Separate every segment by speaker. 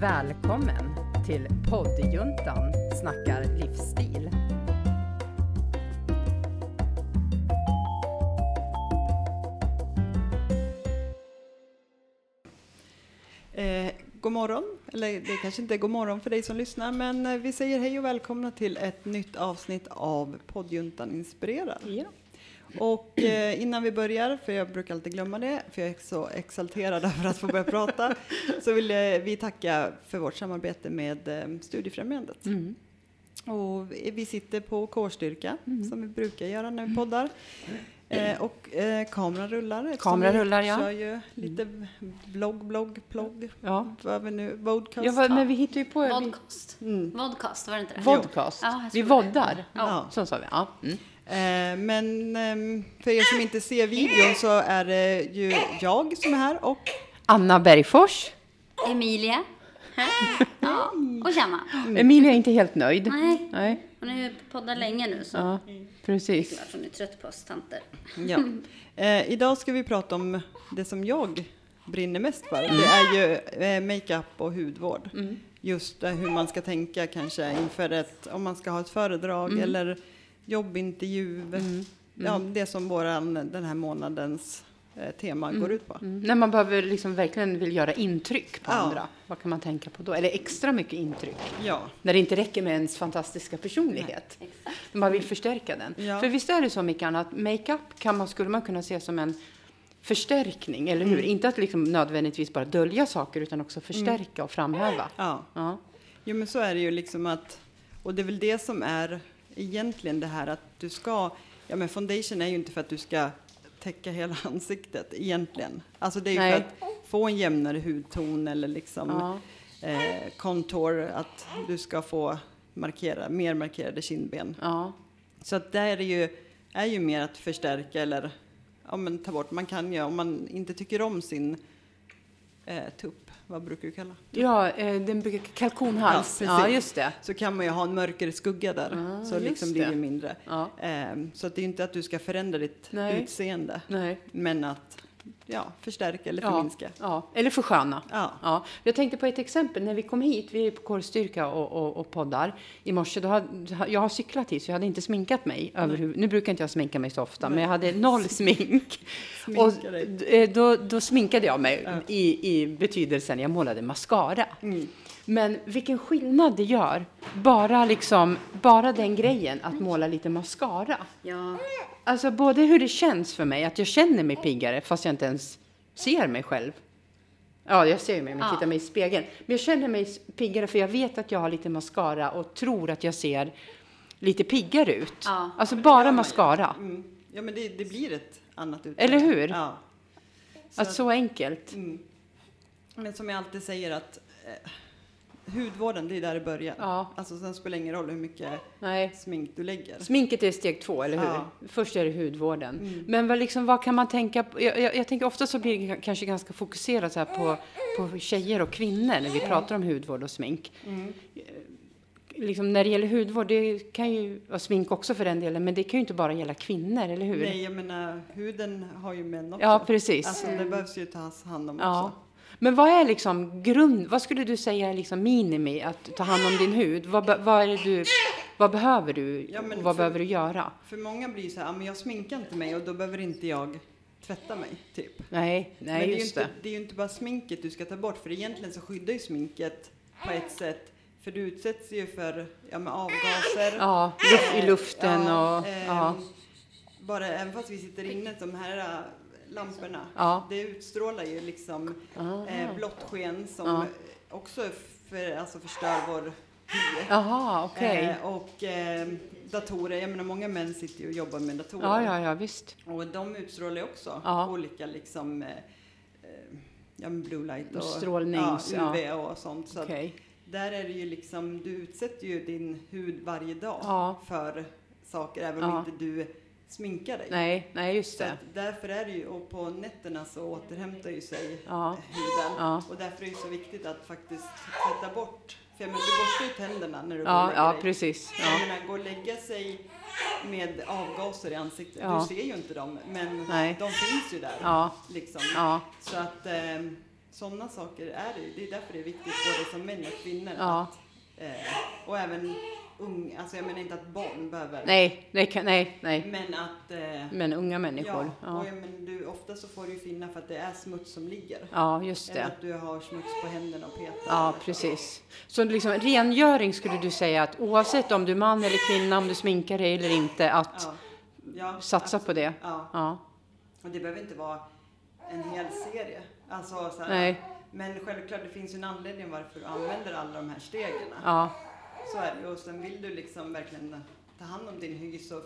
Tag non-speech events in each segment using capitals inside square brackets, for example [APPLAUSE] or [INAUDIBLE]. Speaker 1: Välkommen till poddjuntan snackar livsstil.
Speaker 2: Eh, god morgon, eller det kanske inte är god morgon för dig som lyssnar, men eh, vi säger hej och välkomna till ett nytt avsnitt av poddjuntan inspirerar. Och eh, innan vi börjar, för jag brukar alltid glömma det, för jag är så exalterad [LAUGHS] över att få börja prata, så vill eh, vi tacka för vårt samarbete med eh, Studiefrämjandet.
Speaker 1: Mm.
Speaker 2: Och vi vi sitter på kårstyrka,
Speaker 1: Mm.
Speaker 2: som vi brukar göra när vi poddar. Eh, och eh, kameran rullar. eftersom
Speaker 1: Kameran
Speaker 2: vi
Speaker 1: rullar, ja. Mm.
Speaker 2: kör ju lite blogg, blogg, plogg.
Speaker 1: Ja.
Speaker 2: Vad vi nu, vodcast. Mm.
Speaker 1: Ja, vad- men vi hittar ju på... vi-
Speaker 3: Vodcast. Vodcast, var det inte det?
Speaker 1: Vodcast.
Speaker 3: Ja, jag
Speaker 1: vi
Speaker 3: tror det.
Speaker 1: voddar.
Speaker 2: Ja.
Speaker 1: Så sa vi. Ja. Mm.
Speaker 2: Eh, men ehm, för er som inte ser videon så är det ju jag som är här och
Speaker 1: Anna Bergfors.
Speaker 3: Emilia. Ja, och Janna.
Speaker 1: Mm. Emilia är inte helt nöjd.
Speaker 3: Nej.
Speaker 1: Nej.
Speaker 3: Hon har ju poddat länge nu så
Speaker 1: Ja, precis.
Speaker 3: hon är trött på oss tanter.
Speaker 2: ja. eh, idag ska vi prata om det som jag brinner mest för. Det är ju eh, makeup och hudvård.
Speaker 1: Mm.
Speaker 2: Just eh, hur man ska tänka kanske inför ett, om man ska ha ett föredrag
Speaker 1: Mm.
Speaker 2: eller jobbintervju. Ja, det som våran, den här månadens eh, tema går ut på.
Speaker 1: Mm. När man behöver liksom verkligen vill göra intryck på
Speaker 2: Ja.
Speaker 1: andra, vad kan man tänka på då? Eller extra mycket intryck.
Speaker 2: Ja.
Speaker 1: När det inte räcker med ens fantastiska personlighet. När man vill förstärka den.
Speaker 2: Ja.
Speaker 1: För visst är det så, Mickan, att makeup kan man, skulle man kunna se som en förstärkning, eller hur? Inte att liksom nödvändigtvis bara dölja saker, utan också förstärka och framhäva.
Speaker 2: ja.
Speaker 1: Ja.
Speaker 2: Jo men så är det ju liksom att, och det är väl det som är egentligen det här att du ska, ja men foundation är ju inte för att du ska täcka hela [LAUGHS] ansiktet egentligen. Alltså det är ju
Speaker 1: Nej.
Speaker 2: för att få en jämnare hudton eller liksom eh, contour, att du ska få markera, mer markerade kindben.
Speaker 1: ja.
Speaker 2: Så att där är det ju, är ju mer att förstärka eller ja, men ta bort. Man kan ju, om man inte tycker om sin eh, tupp, vad brukar du kalla?
Speaker 1: Ja, eh, den brukar kalkonhals.
Speaker 2: Ja,
Speaker 1: Ja,
Speaker 2: precis.
Speaker 1: just det.
Speaker 2: så kan man ju ha en mörkare skugga där.
Speaker 1: Ah,
Speaker 2: så liksom
Speaker 1: just
Speaker 2: blir
Speaker 1: det.
Speaker 2: det mindre.
Speaker 1: Ja.
Speaker 2: Ehm, så att det är ju inte att du ska förändra ditt
Speaker 1: Nej.
Speaker 2: utseende.
Speaker 1: Nej.
Speaker 2: Men att ja, förstärka eller
Speaker 1: Ja,
Speaker 2: förminska.
Speaker 1: ja, eller försköna.
Speaker 2: Ja.
Speaker 1: Ja. Jag tänkte på ett exempel. När vi kom hit, vi är på kårstyrka och, och, och poddar i morse. Då hade, jag har cyklat hit så jag hade inte sminkat mig. överhuvud- Nu brukar inte jag sminka mig så ofta, men jag hade noll smink.
Speaker 2: [LAUGHS] Sminka
Speaker 1: och
Speaker 2: dig.
Speaker 1: d- eh, då, då sminkade jag mig i, i betydelsen jag målade mascara.
Speaker 2: Mm.
Speaker 1: Men vilken skillnad det gör, bara, liksom, bara den grejen
Speaker 2: Mm.
Speaker 1: att måla lite mascara.
Speaker 3: Ja,
Speaker 1: Alltså både hur det känns för mig, att jag känner mig piggare fast jag inte ens ser mig själv. Ja, jag ser ju mig om jag
Speaker 3: Ja.
Speaker 1: tittar mig i spegeln. Men jag känner mig s- piggare för jag vet att jag har lite mascara och tror att jag ser lite piggare ut.
Speaker 3: Ja.
Speaker 1: Alltså bara mascara.
Speaker 2: Mm. Ja men det, det blir ett annat utseende.
Speaker 1: Eller hur?
Speaker 2: Ja. Mm.
Speaker 1: Att Alltså, så enkelt.
Speaker 2: Men som jag alltid säger att eh, hudvården, det är där det börjar.
Speaker 1: Ja.
Speaker 2: Alltså sen spelar det ingen roll hur mycket
Speaker 1: Nej.
Speaker 2: smink du lägger.
Speaker 1: Sminket är steg två, eller hur?
Speaker 2: Ja.
Speaker 1: Först är det hudvården.
Speaker 3: Mm.
Speaker 1: Men vad, liksom, vad kan man tänka på? Jag, jag, jag tänker ofta så blir det k- kanske ganska fokuserat så här på, på tjejer och kvinnor när vi pratar om hudvård och smink.
Speaker 2: Mm.
Speaker 1: Eh, Liksom när det gäller hudvård, det kan ju, och smink också för den delen, men det kan ju inte bara gälla kvinnor, eller hur?
Speaker 2: Nej jag menar huden har ju män också.
Speaker 1: Ja, precis.
Speaker 2: Alltså det behövs ju tas hand om
Speaker 1: Ja.
Speaker 2: också.
Speaker 1: Men vad är liksom grund, vad skulle du säga är liksom minimi att ta hand om din hud? Vad, be- vad, är det du, vad behöver du
Speaker 2: Ja, men
Speaker 1: och vad
Speaker 2: för-
Speaker 1: behöver du göra?
Speaker 2: För många blir ju så här, "Ah, men jag sminkar inte mig och då behöver inte jag tvätta mig typ.
Speaker 1: Nej, nej
Speaker 2: Men
Speaker 1: just
Speaker 2: det.
Speaker 1: det.
Speaker 2: Är ju inte, det är ju inte bara sminket du ska ta bort, för egentligen så skyddar ju sminket på ett sätt. För du utsätts ju för ja, men avgaser.
Speaker 1: Ja, luft, i luften
Speaker 2: Ja,
Speaker 1: och...
Speaker 2: ehm,
Speaker 1: Ja,
Speaker 2: Bara även fast vi sitter inne, de här äh, lamporna,
Speaker 1: Ja.
Speaker 2: det utstrålar ju liksom
Speaker 1: Ah.
Speaker 2: eh, blått sken som
Speaker 1: Ja.
Speaker 2: också för, alltså förstör vår hy.
Speaker 1: Jaha, okej.
Speaker 2: Eh, och eh, datorer, jag menar många män sitter ju och jobbar med datorer.
Speaker 1: Ja, ja, ja, visst.
Speaker 2: Och de utstrålar ju också
Speaker 1: Ja.
Speaker 2: olika liksom, eh, eh, ja, men blue light och
Speaker 1: Strålnings-
Speaker 2: ja, UV och sånt. Så att
Speaker 1: Okej.
Speaker 2: där är det ju liksom, du utsätter ju din hud varje dag
Speaker 1: Ja.
Speaker 2: för saker, även
Speaker 1: Ja.
Speaker 2: om inte du sminkar dig.
Speaker 1: Nej, nej, just
Speaker 2: Så
Speaker 1: det.
Speaker 2: att därför är det ju, och på nätterna så återhämtar ju sig
Speaker 1: Ja.
Speaker 2: huden.
Speaker 1: Ja.
Speaker 2: Och därför är det så viktigt att faktiskt tvätta bort, för jag menar, du borstar ju tänderna när du går och
Speaker 1: Ja,
Speaker 2: lägger
Speaker 1: ja,
Speaker 2: dig.
Speaker 1: precis.
Speaker 2: Jag
Speaker 1: Ja.
Speaker 2: menar, gå och lägga sig med avgaser i ansiktet.
Speaker 1: Ja.
Speaker 2: Du ser ju inte dem, men
Speaker 1: Nej.
Speaker 2: de finns ju där.
Speaker 1: Ja.
Speaker 2: Liksom.
Speaker 1: Ja.
Speaker 2: Så att, ehm, sådana saker är det ju. Det är därför det är viktigt både som män och kvinnor.
Speaker 1: Ja.
Speaker 2: Att, eh, och även ung, alltså jag menar inte att barn behöver.
Speaker 1: Nej, nej, kan- nej, nej.
Speaker 2: Men att... Eh,
Speaker 1: Men unga människor.
Speaker 2: Ja,
Speaker 1: Ja,
Speaker 2: och jag men du, ofta så får du ju finna för att det är smuts som ligger.
Speaker 1: ja just
Speaker 2: Eller
Speaker 1: det.
Speaker 2: att du har smuts på händerna och petar.
Speaker 1: Ja,
Speaker 2: eller så.
Speaker 1: precis. Så liksom, rengöring skulle du säga att oavsett om du är man eller kvinna, om du sminkar dig eller inte, att
Speaker 2: Ja. Ja,
Speaker 1: satsa på det.
Speaker 2: Ja,
Speaker 1: Ja,
Speaker 2: och det behöver inte vara en hel serie. Alltså, så här,
Speaker 1: nej,
Speaker 2: Men självklart, det finns ju en anledning varför du använder alla de här stegen.
Speaker 1: ja,
Speaker 2: Så är det ju. Och sen vill du liksom verkligen ta hand om din hygg så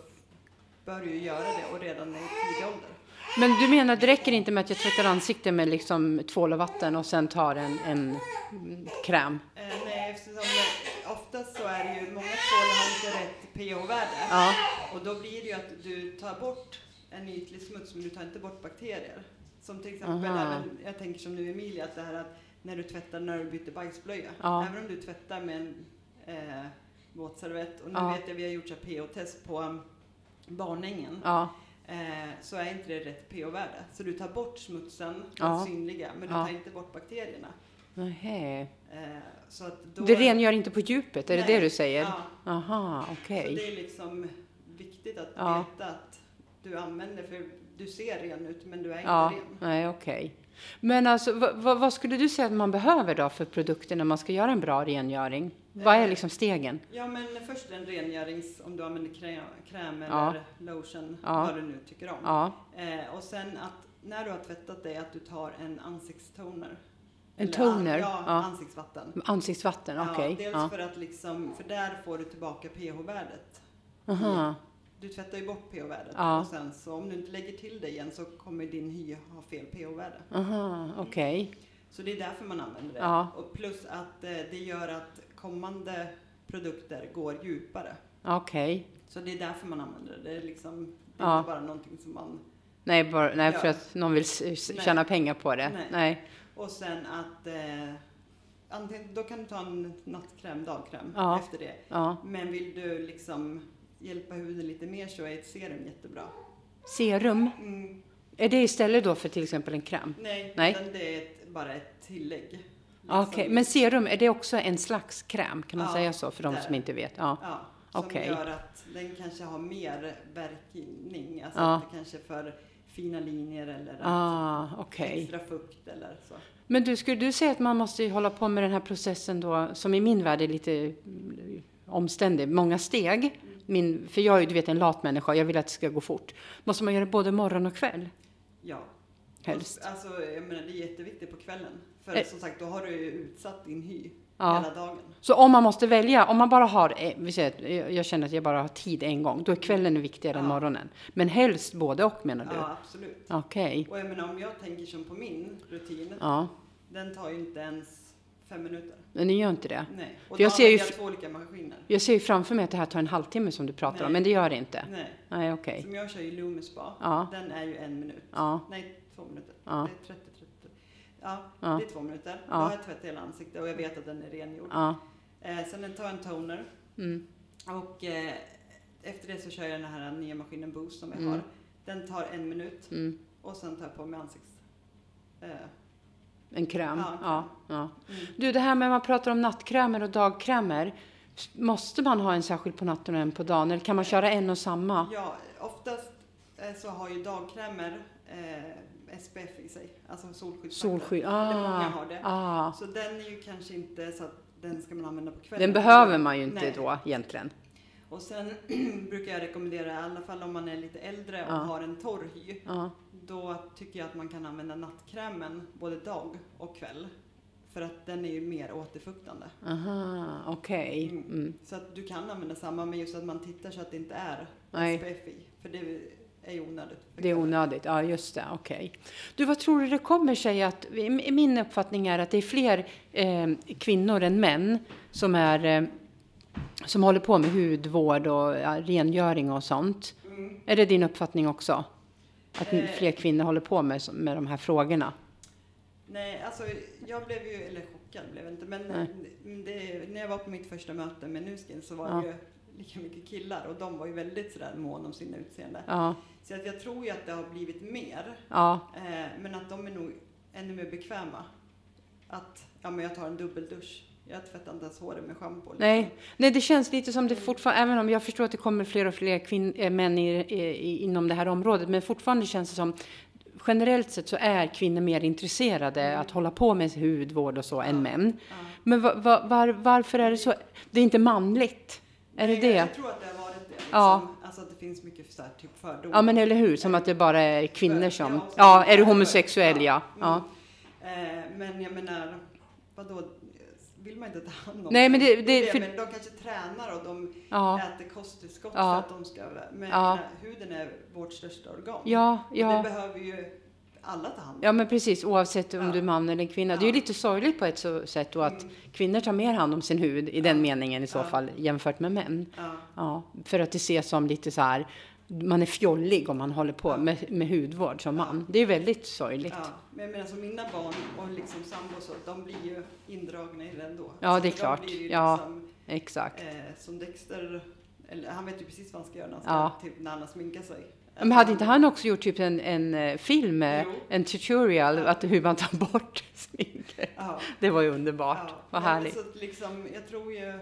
Speaker 2: bör du ju göra det och redan i tidig ålder.
Speaker 1: Men du menar att det räcker inte med att jag tvättar ansiktet med liksom tvål och vatten och sen tar en, en mm, kräm?
Speaker 2: Eh, nej, eftersom det, oftast så är det ju många tvålar har inte rätt pH-värde.
Speaker 1: Ja,
Speaker 2: Och då blir det ju att du tar bort en ytlig smuts men du tar inte bort bakterier. Som till exempel,
Speaker 1: Aha.
Speaker 2: även, jag tänker som nu Emilia, att det här att när du tvättar när du byter bajsblöja.
Speaker 1: Ja.
Speaker 2: Även om du tvättar med en eh, våtservett, och nu
Speaker 1: Ja.
Speaker 2: vet jag vi har gjort så här pH-test på um, barnängen,
Speaker 1: ja,
Speaker 2: eh, så är inte det rätt pH-värde. Så du tar bort smutsen, den
Speaker 1: Ja.
Speaker 2: synliga, men du
Speaker 1: Ja.
Speaker 2: tar inte bort bakterierna.
Speaker 1: Nähä.
Speaker 2: Eh, så att då,
Speaker 1: Det rengör inte på djupet, är det
Speaker 2: Nej.
Speaker 1: det du säger?
Speaker 2: Ja,
Speaker 1: Aha,
Speaker 2: Så
Speaker 1: okej.
Speaker 2: det är liksom viktigt att
Speaker 1: Ja.
Speaker 2: veta att du använder, för du ser ren ut men du är inte
Speaker 1: Ja,
Speaker 2: ren.
Speaker 1: nej okej. Men alltså, vad, vad, vad skulle du säga att man behöver då för produkter när man ska göra en bra rengöring? Vad
Speaker 2: Eh.
Speaker 1: är liksom stegen?
Speaker 2: Ja men först en rengörings, om du använder kräm, kräm eller
Speaker 1: Ja.
Speaker 2: lotion,
Speaker 1: Ja.
Speaker 2: vad du nu tycker om.
Speaker 1: Ja,
Speaker 2: Eh, och sen att när du har tvättat dig att du tar en ansiktstoner.
Speaker 1: en
Speaker 2: Eller
Speaker 1: toner.
Speaker 2: An, ja,
Speaker 1: Ja.
Speaker 2: ansiktsvatten.
Speaker 1: Ansiktsvatten, okej.
Speaker 2: Ja, dels
Speaker 1: Ja.
Speaker 2: för att liksom, för där får du tillbaka pH-värdet.
Speaker 1: Aha.
Speaker 2: Du tvättar ju bort pH-värdet
Speaker 1: Ja.
Speaker 2: och sen så om du inte lägger till det igen så kommer din hy ha fel pH-värde.
Speaker 1: Aha, okej.
Speaker 2: Så det är därför man använder det.
Speaker 1: Ja.
Speaker 2: Och plus att eh, det gör att kommande produkter går djupare.
Speaker 1: Okej.
Speaker 2: Så det är därför man använder det. Det är liksom det är
Speaker 1: Ja.
Speaker 2: inte bara någonting som man...
Speaker 1: Nej, bara, nej
Speaker 2: Ja.
Speaker 1: för att någon vill s- s-
Speaker 2: Nej.
Speaker 1: tjäna pengar på det. Nej.
Speaker 2: Nej. Och sen att... Eh, antingen, då kan du ta en nattkräm, dagkräm
Speaker 1: Ja.
Speaker 2: efter det.
Speaker 1: Ja.
Speaker 2: Men vill du liksom hjälpa huden lite mer så är ett serum jättebra.
Speaker 1: Serum,
Speaker 2: Mm,
Speaker 1: är det istället då för till exempel en kräm?
Speaker 2: nej,
Speaker 1: Nej.
Speaker 2: utan det är ett, bara ett tillägg.
Speaker 1: Okej,
Speaker 2: Liksom.
Speaker 1: men serum, är det också en slags kräm? Kan man
Speaker 2: Ja,
Speaker 1: säga så för de
Speaker 2: det är
Speaker 1: som
Speaker 2: det.
Speaker 1: inte vet? Ja.
Speaker 2: Ja, som
Speaker 1: Okej.
Speaker 2: gör att den kanske har mer verkning. Alltså
Speaker 1: Ja.
Speaker 2: att det kanske är för fina linjer eller att
Speaker 1: Ah, okej.
Speaker 2: extra fukt eller så.
Speaker 1: Men du, skulle du säga att man måste ju hålla på med den här processen då, som i min värld är lite mm, omständig, många steg? Min, för jag är ju, du vet, en lat människa, jag vill att det ska gå fort. Måste man göra det både morgon och kväll?
Speaker 2: Ja.
Speaker 1: Helst.
Speaker 2: Och, Alltså, jag menar, det är jätteviktigt på kvällen. För
Speaker 1: Eh.
Speaker 2: som sagt, då har du ju utsatt din hy
Speaker 1: Ja.
Speaker 2: hela dagen.
Speaker 1: Så om man måste välja, om man bara har, eh, vi säger, att jag- jag känner att jag bara har tid en gång, då är kvällen viktigare än
Speaker 2: Ja.
Speaker 1: morgonen. Men helst både och menar du?
Speaker 2: Ja, absolut.
Speaker 1: Okej.
Speaker 2: Och jag menar, om jag tänker som på min rutin,
Speaker 1: Ja,
Speaker 2: den tar ju inte ens fem minuter.
Speaker 1: men ni gör inte det.
Speaker 2: Nej.
Speaker 1: För
Speaker 2: Och då
Speaker 1: jag ser ju
Speaker 2: använder
Speaker 1: f-
Speaker 2: jag två olika maskiner.
Speaker 1: Jag ser ju framför mig att det här tar en halvtimme som du pratar
Speaker 2: Nej.
Speaker 1: om, men det gör det inte.
Speaker 2: Nej.
Speaker 1: Nej, okej.
Speaker 2: Som jag kör ju Loomis Spa.
Speaker 1: Ja.
Speaker 2: Den är ju en minut.
Speaker 1: Ja.
Speaker 2: Nej, två minuter.
Speaker 1: Ja.
Speaker 2: Det är 30, 30. Ja,
Speaker 1: Ja.
Speaker 2: det är två minuter.
Speaker 1: Ja.
Speaker 2: Då har jag tvättat hela ansiktet och jag vet att den är rengjord.
Speaker 1: Ja.
Speaker 2: Eh, sen tar jag en toner
Speaker 1: Mm.
Speaker 2: och eh, efter det så kör jag den här nya maskinen Boost som jag
Speaker 1: Mm.
Speaker 2: har. Den tar en minut
Speaker 1: Mm.
Speaker 2: och sen tar jag på mig ansikts... Eh,
Speaker 1: En kräm.
Speaker 2: Ja, en kräm.
Speaker 1: Ja, ja.
Speaker 2: Mm.
Speaker 1: Du, det här med att man pratar om nattkrämer och dagkrämer. s- Måste man ha en särskild på natten och en på dagen? Eller kan man köra en och samma?
Speaker 2: ja, oftast eh, så har ju dagkrämer eh, SPF i sig, alltså solskyddsfaktor.
Speaker 1: Solskydd.
Speaker 2: Det är många
Speaker 1: Ah.
Speaker 2: har det.
Speaker 1: ah.
Speaker 2: Så den är ju kanske inte så att den ska man använda på kvällen.
Speaker 1: Den behöver man ju inte
Speaker 2: Nej.
Speaker 1: då egentligen.
Speaker 2: Och sen [CLEARS THROAT] brukar jag rekommendera, i alla fall om man är lite äldre och
Speaker 1: Ja.
Speaker 2: har en torr hy,
Speaker 1: Ja.
Speaker 2: då tycker jag att man kan använda nattkrämen både dag och kväll. För att den är ju mer återfuktande.
Speaker 1: Aha, okej.
Speaker 2: Mm.
Speaker 1: Mm.
Speaker 2: Så att du kan använda samma, men just att man tittar så att det inte är
Speaker 1: Nej.
Speaker 2: SPFI. För det är ju onödigt.
Speaker 1: Det är onödigt. Ja, just det. Okej. Du, vad tror du det kommer sig att... i- Min uppfattning är att det är fler eh, kvinnor än män som är... Eh, som håller på med hudvård och ja, rengöring och sånt.
Speaker 2: Mm.
Speaker 1: Är det din uppfattning också? Att
Speaker 2: Eh.
Speaker 1: fler kvinnor håller på med, så- med de här frågorna?
Speaker 2: Nej, alltså jag blev ju, eller chockad blev jag inte, men det, när jag var på mitt första möte med Nuskin så var
Speaker 1: Ja.
Speaker 2: det ju lika mycket killar och de var ju väldigt sådär mån om sina utseende.
Speaker 1: Ja,
Speaker 2: Så att jag tror ju att det har blivit mer.
Speaker 1: ja,
Speaker 2: Eh, men att de är nog ännu mer bekväma att ja, men jag tar en dubbeldusch. Jag tvättar inte ens håret med liksom. schampo.
Speaker 1: Nej. Nej, det känns lite som det fortfarande, även om jag förstår att det kommer fler och fler kvin- eh, män i, i, inom det här området, men fortfarande känns det som Generellt sett så är kvinnor mer intresserade att hålla på med hudvård och så än män. Men va, va, var, varför är det så? Det är inte manligt? Är det
Speaker 2: Nej,
Speaker 1: det?
Speaker 2: Jag, jag tror att det har varit det. Liksom.
Speaker 1: Ja.
Speaker 2: Alltså att det finns mycket så här, typ fördomar.
Speaker 1: Ja men eller hur, som att det bara är kvinnor som...
Speaker 2: Ja,
Speaker 1: Ja, är du homosexuell ja. ja.
Speaker 2: Mm. Eh, men jag menar, vadå? Vill man inte ta hand om
Speaker 1: Nej, men det-
Speaker 2: är
Speaker 1: det- för-
Speaker 2: men de kanske tränar och de
Speaker 1: Ja.
Speaker 2: äter kosttillskott
Speaker 1: Ja.
Speaker 2: för att de ska... Men
Speaker 1: Ja.
Speaker 2: jag menar, huden är vårt största organ.
Speaker 1: Ja,
Speaker 2: Och Det
Speaker 1: ja.
Speaker 2: behöver ju alla ta hand om.
Speaker 1: Ja men precis, oavsett om
Speaker 2: Ja.
Speaker 1: du är man eller kvinna. Det är ju
Speaker 2: Ja.
Speaker 1: lite sorgligt på ett så sätt då
Speaker 2: Mm.
Speaker 1: att kvinnor tar mer hand om sin hud i den meningen i så
Speaker 2: Ja.
Speaker 1: fall jämfört med män.
Speaker 2: Ja.
Speaker 1: Ja, för att det ses som lite så här, man är fjollig om man håller på med, med hudvård som man. Det är väldigt sorgligt.
Speaker 2: Ja, men jag menar så mina barn och liksom sambo så, de blir ju indragna i det ändå.
Speaker 1: Ja,
Speaker 2: Alltså,
Speaker 1: det är
Speaker 2: de
Speaker 1: klart.
Speaker 2: Blir ju
Speaker 1: Ja.
Speaker 2: liksom,
Speaker 1: Exakt.
Speaker 2: eh, som Dexter, eller han vet ju precis vad han ska göra när han, ska,
Speaker 1: Ja.
Speaker 2: typ, när han sminkar sig.
Speaker 1: Men hade inte han också gjort typ en, en eh, film, eh,
Speaker 2: Jo.
Speaker 1: en tutorial, att hur man tar bort sminket?
Speaker 2: Ja.
Speaker 1: Det var ju underbart.
Speaker 2: Ja,
Speaker 1: Vad
Speaker 2: nej, men
Speaker 1: härligt.
Speaker 2: Så att liksom, jag tror ju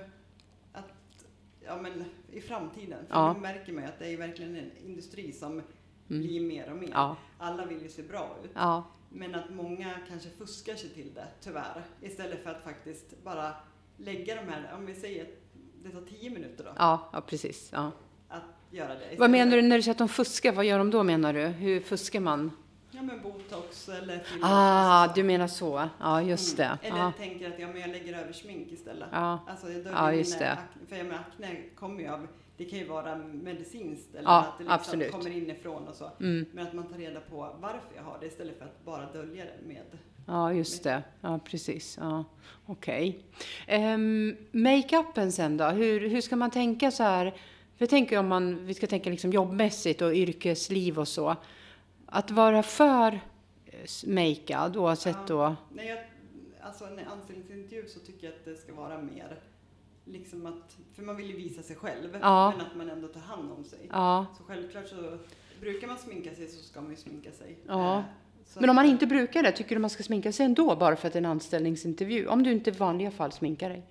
Speaker 2: att ja, men, i framtiden, för
Speaker 1: Ja. Mm.
Speaker 2: nu märker man ju att det är ju verkligen en industri som blir mer och mer.
Speaker 1: Ja.
Speaker 2: Alla vill ju se bra ut,
Speaker 1: Ja.
Speaker 2: men att många kanske fuskar sig till det, tyvärr, istället för att faktiskt bara lägga de här, om vi säger att det tar 10 minuter då,
Speaker 1: Ja, ja precis. Ja.
Speaker 2: att göra det.
Speaker 1: Vad
Speaker 2: istället.
Speaker 1: menar du när du säger att de fuskar? Vad gör de då menar du? Hur fuskar man?
Speaker 2: Ja, men botox eller fillers.
Speaker 1: Ah,
Speaker 2: Alltså,
Speaker 1: du menar så. Ja, just det.
Speaker 2: Mm. Eller
Speaker 1: Ja,
Speaker 2: tänker att ja, men jag lägger över smink istället.
Speaker 1: ja,
Speaker 2: Alltså, då blir
Speaker 1: Ja, just
Speaker 2: mina
Speaker 1: det.
Speaker 2: Akne, för jag menar, akne kommer ju av, det kan ju vara medicinskt eller
Speaker 1: Ja,
Speaker 2: att det liksom
Speaker 1: absolut.
Speaker 2: kommer inifrån och så.
Speaker 1: mm,
Speaker 2: Men att man tar reda på varför jag har det istället för att bara dölja det med.
Speaker 1: ja, just det. Ja, precis. Ja, Okej. Ehm, Makeupen sen då? Hur, hur ska man tänka så här? För jag tänker om man, vi ska tänka liksom jobbmässigt och yrkesliv och så. Att vara för eh, s- makead oavsett då.
Speaker 2: När jag, alltså en anställningsintervju så tycker jag att det ska vara mer liksom att, för man vill ju visa sig själv,
Speaker 1: Ja.
Speaker 2: men att man ändå tar hand om sig.
Speaker 1: Ja.
Speaker 2: Så självklart så brukar man sminka sig så ska man ju sminka sig.
Speaker 1: Ja.
Speaker 2: Eh, så
Speaker 1: Men om
Speaker 2: att-
Speaker 1: man inte brukar det, tycker du man ska sminka sig ändå bara för att det är en anställningsintervju? Om du inte i vanliga fall sminkar dig?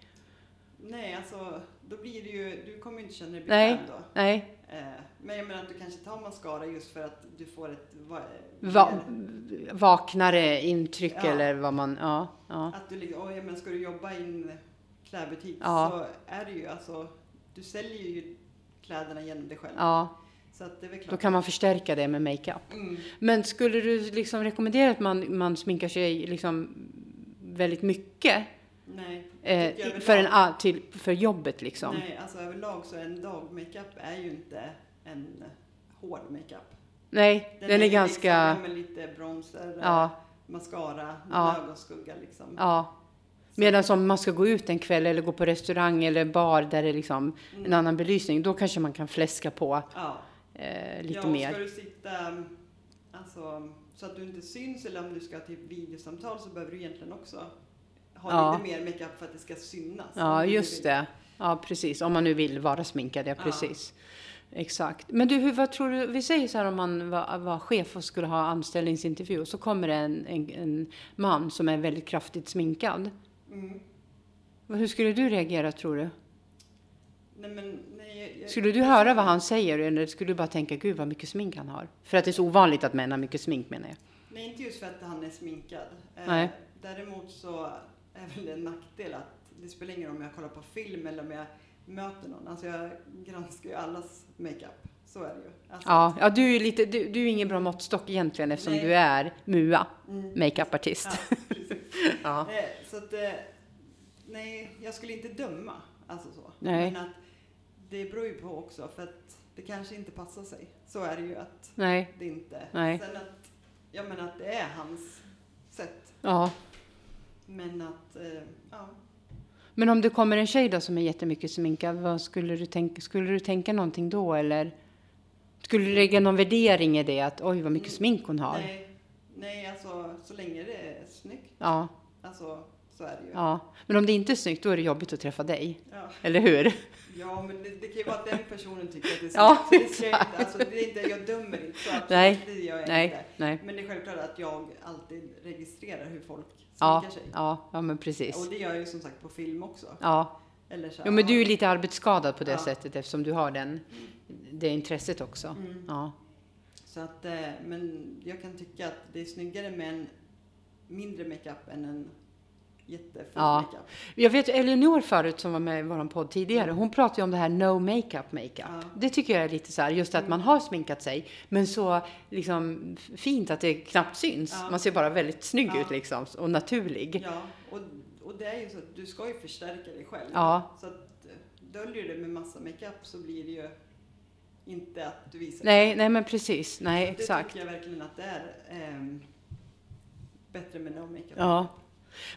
Speaker 2: Nej, alltså då blir det ju, du kommer ju inte känna dig
Speaker 1: Nej.
Speaker 2: bekväm då.
Speaker 1: Nej.
Speaker 2: Eh, Men jag menar att du kanske tar mascara just för att du får ett... va-
Speaker 1: Va-
Speaker 2: mer-
Speaker 1: vaknare intryck
Speaker 2: Ja.
Speaker 1: eller vad man... Ja. ja.
Speaker 2: Att du liksom, oj, men ska du jobba i en klädbutik
Speaker 1: Ja.
Speaker 2: så är det ju alltså, du säljer ju kläderna genom dig själv.
Speaker 1: Ja,
Speaker 2: Så att det är väl klart.
Speaker 1: då kan man förstärka det med makeup.
Speaker 2: Mm.
Speaker 1: Men skulle du liksom rekommendera att man, man sminkar sig liksom väldigt mycket
Speaker 2: Nej,
Speaker 1: eh,
Speaker 2: tycker jag
Speaker 1: i-
Speaker 2: överlag-
Speaker 1: för, en, a- till, för jobbet liksom? Nej,
Speaker 2: Nej, alltså överlag så en dagmakeup är ju inte en hård makeup.
Speaker 1: den, är,
Speaker 2: ju
Speaker 1: ganska...
Speaker 2: Liksom, ja, men lite bronzer,
Speaker 1: ja,
Speaker 2: mascara,
Speaker 1: Ja.
Speaker 2: ögonskugga liksom.
Speaker 1: ja. Medan om man ska gå ut en kväll eller gå på restaurang eller bar där det är liksom en
Speaker 2: Mm.
Speaker 1: annan belysning, då kanske man kan fläska på
Speaker 2: Ja.
Speaker 1: eh, lite
Speaker 2: ja, och
Speaker 1: mer.
Speaker 2: Ska du sitta um, alltså, så att du inte syns eller om du ska ha typ videosamtal så behöver du egentligen också ha
Speaker 1: Ja.
Speaker 2: lite mer makeup för att det ska synas. Mm.
Speaker 1: Ja, just det. Ja, precis. Om man nu vill vara sminkad, ja
Speaker 2: Ja.
Speaker 1: precis. Exakt. Men du, hur, vad tror du? Vi säger så här om man var, var chef och skulle ha anställningsintervju och så kommer det en, en, en man som är väldigt kraftigt sminkad.
Speaker 2: Mm.
Speaker 1: Vad- Hur skulle du reagera tror du?
Speaker 2: Nej, men, nej, jag- jag,
Speaker 1: Skulle du höra vad han säger eller skulle du bara tänka gud vad mycket smink han har? För att det är så ovanligt att män har mycket smink menar jag.
Speaker 2: Nej, inte just för att han är sminkad. Eh,
Speaker 1: Nej.
Speaker 2: Däremot så är väl det en nackdel att det spelar ingen roll om jag kollar på film eller om jag möter någon. Alltså jag granskar ju allas makeup. Så är det ju. Alltså,
Speaker 1: Ja, ja du, är ju lite, du, du är ingen bra måttstock egentligen eftersom
Speaker 2: Nej.
Speaker 1: du är MUA,
Speaker 2: mm.
Speaker 1: makeupartist.
Speaker 2: Ja, precis.
Speaker 1: [LAUGHS] Ja.
Speaker 2: Eh, Så att, eh, nej, jag skulle inte döma. Alltså så.
Speaker 1: Nej.
Speaker 2: Men att det beror ju på också, för att det kanske inte passar sig. Så är det ju att
Speaker 1: Nej,
Speaker 2: det inte...
Speaker 1: Nej.
Speaker 2: Sen att, jag menar att det är hans sätt.
Speaker 1: ja.
Speaker 2: Men att, eh, ja.
Speaker 1: Men om det kommer en tjej då som är jättemycket sminkad, vad skulle du tänka? Skulle du tänka någonting då eller? Skulle du lägga någon värdering i det att oj vad mycket
Speaker 2: Mm.
Speaker 1: smink hon har?
Speaker 2: Nej, nej, alltså så länge det är snyggt.
Speaker 1: Ja,
Speaker 2: Alltså, så är det ju.
Speaker 1: ja. Men om det inte är snyggt då är det jobbigt att träffa dig,
Speaker 2: Ja,
Speaker 1: eller hur?
Speaker 2: ja men det, det kan ju vara att den personen tycker att det är snyggt.
Speaker 1: Ja,
Speaker 2: så det ska jag inte, alltså, det är inte, jag dömer inte. Så absolut,
Speaker 1: Nej,
Speaker 2: det gör jag inte.
Speaker 1: Nej, nej.
Speaker 2: Men det är självklart att jag alltid registrerar hur folk
Speaker 1: Ja,
Speaker 2: sminkar sig.
Speaker 1: ja, ja, men precis.
Speaker 2: Och det gör jag ju som sagt på film också.
Speaker 1: Ja.
Speaker 2: Eller så här,
Speaker 1: Jo, men du är ju lite arbetsskadad på det
Speaker 2: Ja.
Speaker 1: sättet eftersom du har den, det intresset också. Ja.
Speaker 2: Mm. Så att, eh, men jag kan tycka att det är snyggare med en mindre makeup än en jättefull
Speaker 1: Ja.
Speaker 2: makeup.
Speaker 1: Jag vet Elinor förut som var med i vår podd tidigare, hon pratade ju om det här no makeup makeup.
Speaker 2: Ja.
Speaker 1: Det tycker jag är lite så här, just att man har sminkat sig, men så liksom fint att det knappt syns.
Speaker 2: Ja.
Speaker 1: Man ser bara väldigt snygg
Speaker 2: Ja.
Speaker 1: ut liksom och naturlig.
Speaker 2: Ja, och, och det är ju så att du ska ju förstärka dig själv.
Speaker 1: Ja.
Speaker 2: Så att eh, döljer du det med massa makeup så blir det ju inte att du visar
Speaker 1: Nej, nej men precis, nej
Speaker 2: det.
Speaker 1: exakt.
Speaker 2: Det tycker jag verkligen att det är ehm, bättre med no makeup.
Speaker 1: Ja.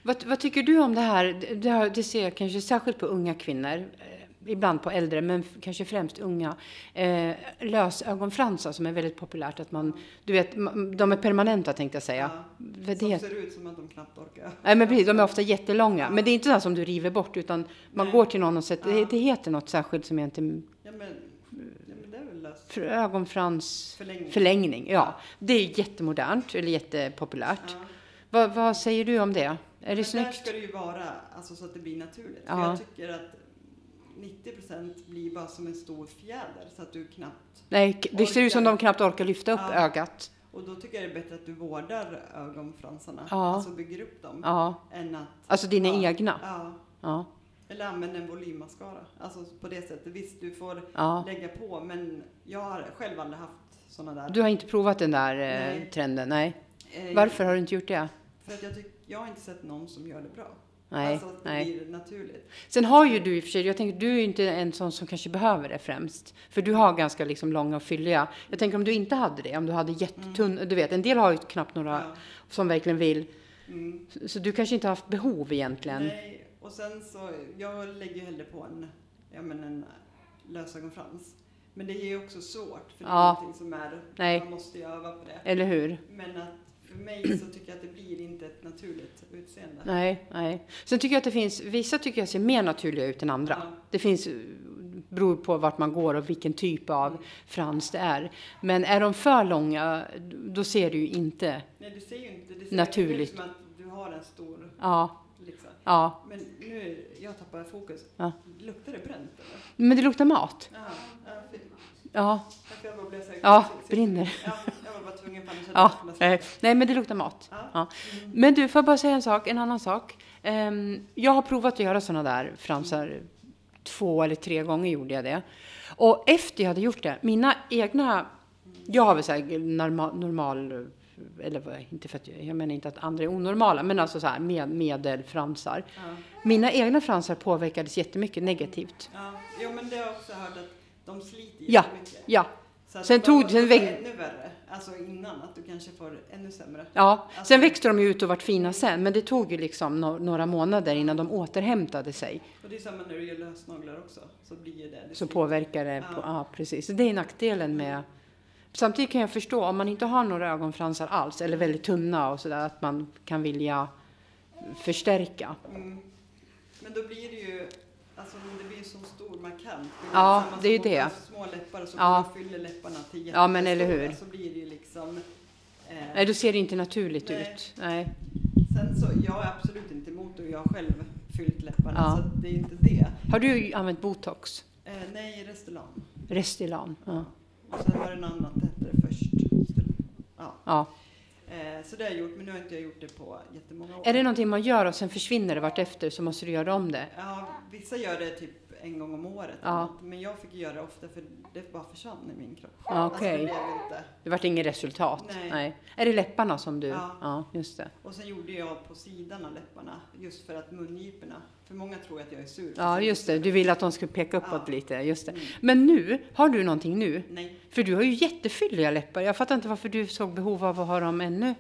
Speaker 1: Vad, vad tycker du om det här? Det- Det, här, det ser jag kanske särskilt på unga kvinnor, eh, ibland på äldre, men f- kanske främst unga. Eh, lösögonfransar som är väldigt populärt, att man, du vet, ma- de är permanenta tänkte jag säga. Vad
Speaker 2: Som
Speaker 1: det-
Speaker 2: ser ut som att de knappt orkar.
Speaker 1: Nej men precis, de är ofta jättelånga. Men det är inte sådana som du river bort utan man
Speaker 2: Nej.
Speaker 1: går till någon och sätter,
Speaker 2: Ja.
Speaker 1: det, det heter något särskilt som jag inte,
Speaker 2: Ja men, ja, men det är väl löst.
Speaker 1: för- ögonfrans
Speaker 2: Förlängning.
Speaker 1: förlängning. Ja, det är jättemodernt eller jättepopulärt.
Speaker 2: Ja.
Speaker 1: Vad, vad säger du om det? Är det
Speaker 2: Men där
Speaker 1: snyggt?
Speaker 2: ska det ju vara alltså, så att det blir naturligt.
Speaker 1: Ja.
Speaker 2: För jag tycker att 90 blir bara som en stor fjäder så att du knappt...
Speaker 1: Nej, k- det ser ut som
Speaker 2: Orkar.
Speaker 1: de knappt orkar lyfta upp
Speaker 2: Ja.
Speaker 1: ögat.
Speaker 2: Och då tycker jag det är bättre att du vårdar ögonfransarna,
Speaker 1: Ja.
Speaker 2: alltså bygger upp dem,
Speaker 1: Ja,
Speaker 2: än att...
Speaker 1: alltså dina
Speaker 2: Ja.
Speaker 1: egna.
Speaker 2: Ja,
Speaker 1: Ja,
Speaker 2: eller använder en volymmascara. Alltså på det sättet. Visst, du får
Speaker 1: ja.
Speaker 2: lägga på, men jag har själv aldrig haft sådana där.
Speaker 1: Du har inte provat den där eh,
Speaker 2: Nej.
Speaker 1: trenden? Nej.
Speaker 2: Eh,
Speaker 1: Varför har du inte gjort det?
Speaker 2: För att jag, tyck, jag har inte sett någon som gör det bra.
Speaker 1: Nej,
Speaker 2: alltså att det
Speaker 1: nej.
Speaker 2: blir naturligt.
Speaker 1: Sen har ju du i och för sig, jag tänker du är ju inte en sån som kanske behöver det främst. För du har ganska liksom långa och fylliga. Jag tänker om du inte hade det, om du hade jättetunn, du vet en del har ju knappt några
Speaker 2: Ja.
Speaker 1: som verkligen vill.
Speaker 2: Mm.
Speaker 1: Så, så du kanske inte har haft behov egentligen.
Speaker 2: Nej, och sen så, jag lägger ju hellre på en, ja men en lösögonfrans. Men det är ju också svårt, för det är
Speaker 1: Ja.
Speaker 2: någonting som är,
Speaker 1: Nej.
Speaker 2: man måste ju öva på det.
Speaker 1: Eller hur?
Speaker 2: Men att för mig så tycker jag att det blir inte ett naturligt utseende.
Speaker 1: Nej, nej. Sen tycker jag att det finns, vissa tycker jag ser mer naturliga ut än andra.
Speaker 2: Ja.
Speaker 1: Det finns, eh, beror på vart man går och vilken typ av frans det är. Men är de för långa, då ser du ju inte.
Speaker 2: Nej, det ser ju inte, det ser
Speaker 1: Naturligt.
Speaker 2: ut som att du har en stor,
Speaker 1: Ja,
Speaker 2: liksom.
Speaker 1: ja.
Speaker 2: Men nu, jag tappar fokus.
Speaker 1: Ja.
Speaker 2: Luktar det bränt eller?
Speaker 1: Men det luktar mat.
Speaker 2: Ja, ja, fy.
Speaker 1: Ja,
Speaker 2: Tack, jag bara blev så här-
Speaker 1: ja, brinner.
Speaker 2: Ja, jag var bara tvungen för annars hade
Speaker 1: Ja,
Speaker 2: jag kunnat
Speaker 1: eh, nej men det luktar mat.
Speaker 2: Ja.
Speaker 1: Ja. Men du, får jag bara säga en sak, en annan sak. Ehm, jag har provat att göra sådana där fransar. Två eller tre gånger gjorde jag det. Och efter jag hade gjort det, mina egna, jag har väl såhär normal, normal eller vad- inte för att jag, jag menar inte att andra är onormala, men alltså så här med, medelfransar.
Speaker 2: Ja.
Speaker 1: Mina egna fransar påverkades jättemycket negativt.
Speaker 2: Ja, jo, men det har jag också hört att de sliter
Speaker 1: Ja.
Speaker 2: jättemycket.
Speaker 1: Ja,
Speaker 2: Så att
Speaker 1: Sen
Speaker 2: då-
Speaker 1: tog-
Speaker 2: då
Speaker 1: sen
Speaker 2: blir
Speaker 1: väg-
Speaker 2: det Ännu värre, alltså innan, att du kanske får ännu sämre.
Speaker 1: Ja,
Speaker 2: Alltså-
Speaker 1: sen växte de ju ut och vart fina sen, men det tog ju liksom no några månader innan de återhämtade sig.
Speaker 2: Och det är samma när du gör lösnaglar också, så blir ju det. det
Speaker 1: Så
Speaker 2: sliter.
Speaker 1: påverkar det, på, ja precis. Så det är nackdelen med... Samtidigt kan jag förstå, om man inte har några ögonfransar alls, eller väldigt tunna och sådär, att man kan vilja förstärka.
Speaker 2: Mm. Men då blir det ju, alltså men det blir ju så stor markant.
Speaker 1: Ja,
Speaker 2: samma
Speaker 1: det är ju
Speaker 2: små-
Speaker 1: det.
Speaker 2: Små läppar och så
Speaker 1: Ja.
Speaker 2: fyller läpparna till
Speaker 1: Ja, men eller
Speaker 2: jättestora,
Speaker 1: hur?
Speaker 2: Så blir det ju liksom. Eh,
Speaker 1: Nej, då ser det inte naturligt
Speaker 2: Nej.
Speaker 1: ut. Nej.
Speaker 2: sen så, jag är absolut inte emot det och jag har själv fyllt läpparna
Speaker 1: Ja.
Speaker 2: så att det är inte det.
Speaker 1: Har du använt botox?
Speaker 2: Eh, nej, Restylane.
Speaker 1: Restylane? Ja.
Speaker 2: Och sen var det något annat det hette det först. Ja.
Speaker 1: ja.
Speaker 2: Eh, så det har jag gjort, men nu har inte jag gjort det på jättemånga år.
Speaker 1: Är det någonting man gör och sen försvinner det vartefter så måste du göra om det?
Speaker 2: Ja, vissa gör det typ en gång om året.
Speaker 1: Ja.
Speaker 2: eller något, Men jag fick göra det ofta för det bara försvann i min kropp. Alltså,
Speaker 1: Ja,
Speaker 2: det
Speaker 1: okej.
Speaker 2: blev inte.
Speaker 1: Det vart inget resultat?
Speaker 2: Nej.
Speaker 1: Är det läpparna som du...
Speaker 2: Ja.
Speaker 1: ja just det.
Speaker 2: Och sen gjorde jag på sidan av läpparna just för att mungiporna, för många tror att jag är sur.
Speaker 1: Ja, just det. Du vill att de ska peka uppåt
Speaker 2: Ja.
Speaker 1: lite. Just det.
Speaker 2: Mm.
Speaker 1: Men nu, har du någonting nu?
Speaker 2: Nej,
Speaker 1: För du har ju jättefylliga läppar. Jag fattar inte varför du såg behov av att ha dem ännu.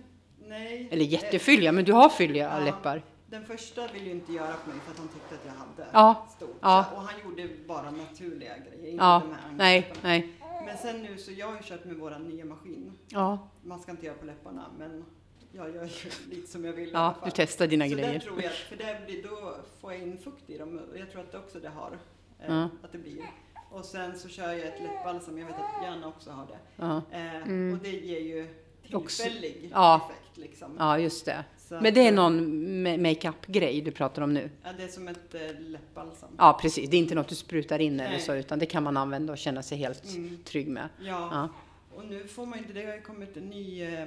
Speaker 2: nej.
Speaker 1: Eller
Speaker 2: Eh,
Speaker 1: jättefylliga, men du har fylliga
Speaker 2: Ja.
Speaker 1: läppar.
Speaker 2: Den första ville ju inte göra på mig för att han tyckte att jag hade
Speaker 1: Ja,
Speaker 2: stort.
Speaker 1: ja.
Speaker 2: Och han gjorde bara naturliga grejer, inte
Speaker 1: Ja,
Speaker 2: de här
Speaker 1: nej,
Speaker 2: angreppen.
Speaker 1: nej.
Speaker 2: Men sen nu så jag har ju kört med våran nya maskin.
Speaker 1: Ja,
Speaker 2: Man ska inte göra på läpparna, men jag gör ju [LAUGHS] lite som jag vill. i alla
Speaker 1: ja
Speaker 2: fall.
Speaker 1: du testar dina
Speaker 2: så
Speaker 1: grejer.
Speaker 2: Där tror jag, för där blir, då får jag in fukt i dem och jag tror att det också det har. Eh,
Speaker 1: Ja.
Speaker 2: Att det blir. Och sen så kör jag ett läppbalsam, jag vet att Janna också har det.
Speaker 1: Ja.
Speaker 2: Eh,
Speaker 1: Mm.
Speaker 2: Och det ger ju
Speaker 1: Också-
Speaker 2: tillfällig
Speaker 1: ja.
Speaker 2: effekt liksom.
Speaker 1: ja, just det.
Speaker 2: Så Så
Speaker 1: Men det är
Speaker 2: att,
Speaker 1: någon ma- makeup-grej du pratar om nu?
Speaker 2: Ja, det är som ett eh, läppbalsam.
Speaker 1: Ja, precis. Det är inte något du sprutar in eller
Speaker 2: Nej.
Speaker 1: så, utan det kan man använda och känna sig helt
Speaker 4: Mm.
Speaker 1: trygg med.
Speaker 2: Mm. Ja,
Speaker 1: Ja.
Speaker 2: och nu får man inte, det har ju kommit en ny eh,